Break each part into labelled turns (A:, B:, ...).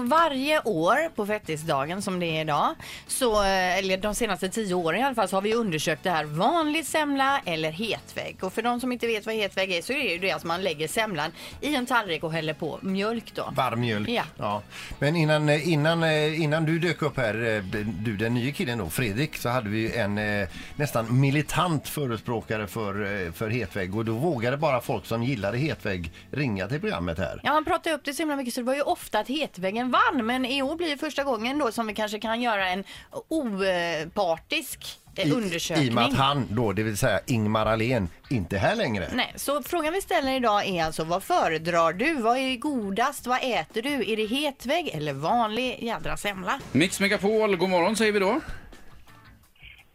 A: Varje år på fettisdagen som det är idag, så, eh, eller de senaste tio åren i alla fall, så har vi undersökt det här vanlig semla eller hetvägg. Och för de som inte vet vad hetvägg är så är det ju det att man lägger semlan i en tallrik och häller på mjölk då.
B: Varm mjölk.
A: Ja.
B: Men innan, eh, innan, innan du dök upp här, eh, du den nya killen då, Fredrik, så hade vi ju en eh, nästan militant förespråkare för, eh, för hetvägg och då vågade bara folk som gillade hetvägg ringa till programmet här.
A: Ja, han pratade upp det så himla mycket så det var ju ofta att hetväggen vann. Men i år blir det första gången då som vi kanske kan göra en opartisk eh,
B: I,
A: undersökning.
B: I och med att han då, det vill säga Ingmar Ahlén, inte här längre.
A: Nej, så frågan vi ställer idag är alltså vad föredrar du? Vad är godast? Vad äter du? Är det hetvägg eller vanlig jädra semla?
C: Mix Megapol, god morgon säger vi då.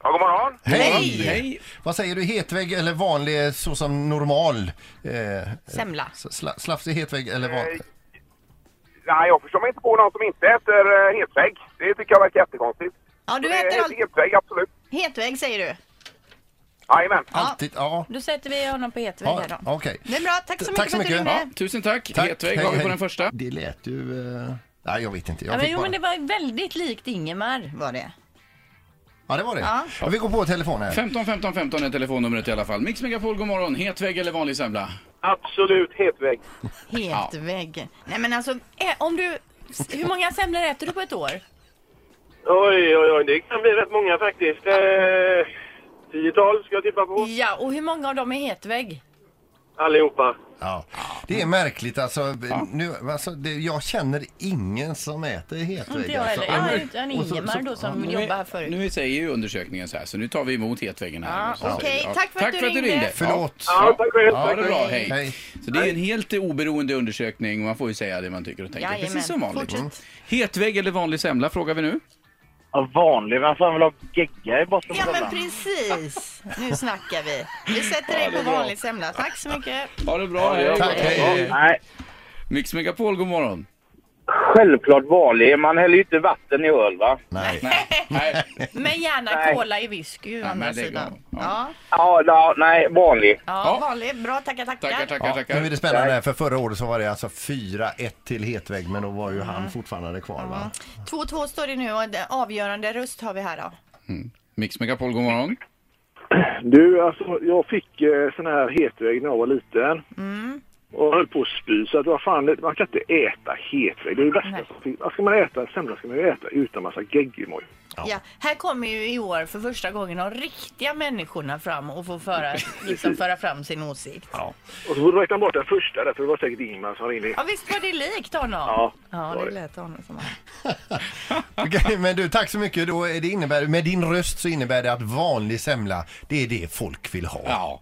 D: Ja, god morgon.
B: Hej! Vad säger du, hetvägg eller vanlig så som normal? Eh,
A: Semla.
B: sla, slafsig hetvägg eller vanlig?
D: Nej, jag förstår mig inte på någon som inte äter eh, hetvägg. Det tycker jag verkar jättekonstigt.
A: Ja, du
D: Det är
A: äter allt.
D: Hetvägg, absolut.
A: Hetvägg säger du.
D: Jajamän.
B: Alltid, ja.
A: Då sätter vi honom på hetvägg
B: ja,
A: här då.
B: Okej.
A: Det är bra, tack så mycket
B: Tack så
A: för att du
B: mycket.
A: ringde.
C: Tusen tack.
B: Tack.
C: Hetvägg
B: Hej,
C: har vi på
B: hej.
C: den första.
B: Det lät ju... eh, Nej, jag vet inte. Jag
A: Ja, men,
B: fick
A: jo,
B: bara...
A: men det var väldigt likt Ingemar var det.
B: Ja, det var det.
A: Ja.
B: Ja. Vi går på telefonen. här.
C: 15 15 15 är telefonnumret i alla fall. Mix Megapol, god morgon. Hetvägg eller vanlig semla?
D: Absolut hetvägg.
A: Hetvägg. Nej men alltså, ä- om du... s- Hur många semlor äter du på ett år?
D: Oj, oj, oj. Det kan bli rätt många faktiskt. Eh, tiotal ska jag tippa på.
A: Ja, och hur många av dem är hetvägg?
D: Allihopa.
B: Ja. Det är märkligt alltså. Nu, alltså det, jag känner ingen som äter hetvägg.
A: Inte jag heller.
B: alltså.
A: Jag har ju en
B: Och så-
A: Ingemar
B: så-
A: då som
C: Nu är-
A: jobbar här förut.
C: Nu säger ju undersökningen så här, så nu tar vi emot hetväggen här.
A: Ja,
C: Så säger
A: okej.
C: vi, ja.
A: Tack för att du ringde.
B: Förlåt.
D: Ja, tack själv.
B: Ja,
C: Ha
D: tack
C: det
D: själv.
C: bra, hej.
B: Hej.
C: Så det är en helt oberoende undersökning och man får ju säga det man tycker och tänker.
A: Jajamän.
C: Precis som vanligt.
A: Fortsätt.
C: Mm. Hetvägg eller vanlig semla frågar vi nu.
E: Ja, vanlig. Vem fan vill ha gegga i botten på
A: Ja men
E: semlan?
A: precis! Nu snackar vi. Vi sätter dig på vanlig semla. Tack så mycket.
C: Ha det bra, hej.
B: Tack,
A: Mm.
B: hej.
E: Nej,
C: Mix Megapol, god morgon.
E: självklart vanlig. Man häller ju inte vatten i öl, va?
B: Nej.
C: Nej, nej.
A: Men gärna
E: Nej.
A: cola i whisky å andra
C: men lägg av.
A: sidan.
C: Ja.
A: Ja,
E: Ja, ja nej, vanlig.
A: ja,
C: Ja.
A: vanlig. Bra, tackar,
C: Tackar,
A: tackar.
C: tackar,
B: Nu är
C: tackar.
B: det spännande här, för förra året så var det alltså 4-1 till hetvägg men då var ju
A: Mm.
B: han fortfarande kvar va?
A: 2-2 står det nu och det avgörande röst har vi här då.
C: Mix Megapol, god morgon.
F: Du, alltså jag fick eh, sån här hetvägg när jag var liten.
A: Mm.
F: Och höll på att spy. Så att vad fan, det- man kan inte äta hetvägg. Det är det
A: Nej.
F: värsta som finns. Vad Ska man äta en semla ska man ju äta utan massa geggemoj.
A: Ja. här kommer ju i år för första gången de riktiga människorna fram och får föra, liksom föra fram sin åsikt.
F: Och så får du räkna bort den första där, för det var säkert Ingmar som ringde.
A: Ja, visst var det likt honom?
F: Ja,
A: ja
F: var
A: det
F: det.
A: lät honom som han.
B: Okej, men du, tack så mycket. Då är det innebär, med din röst så innebär det att vanlig semla, det är det folk vill ha.
C: Ja.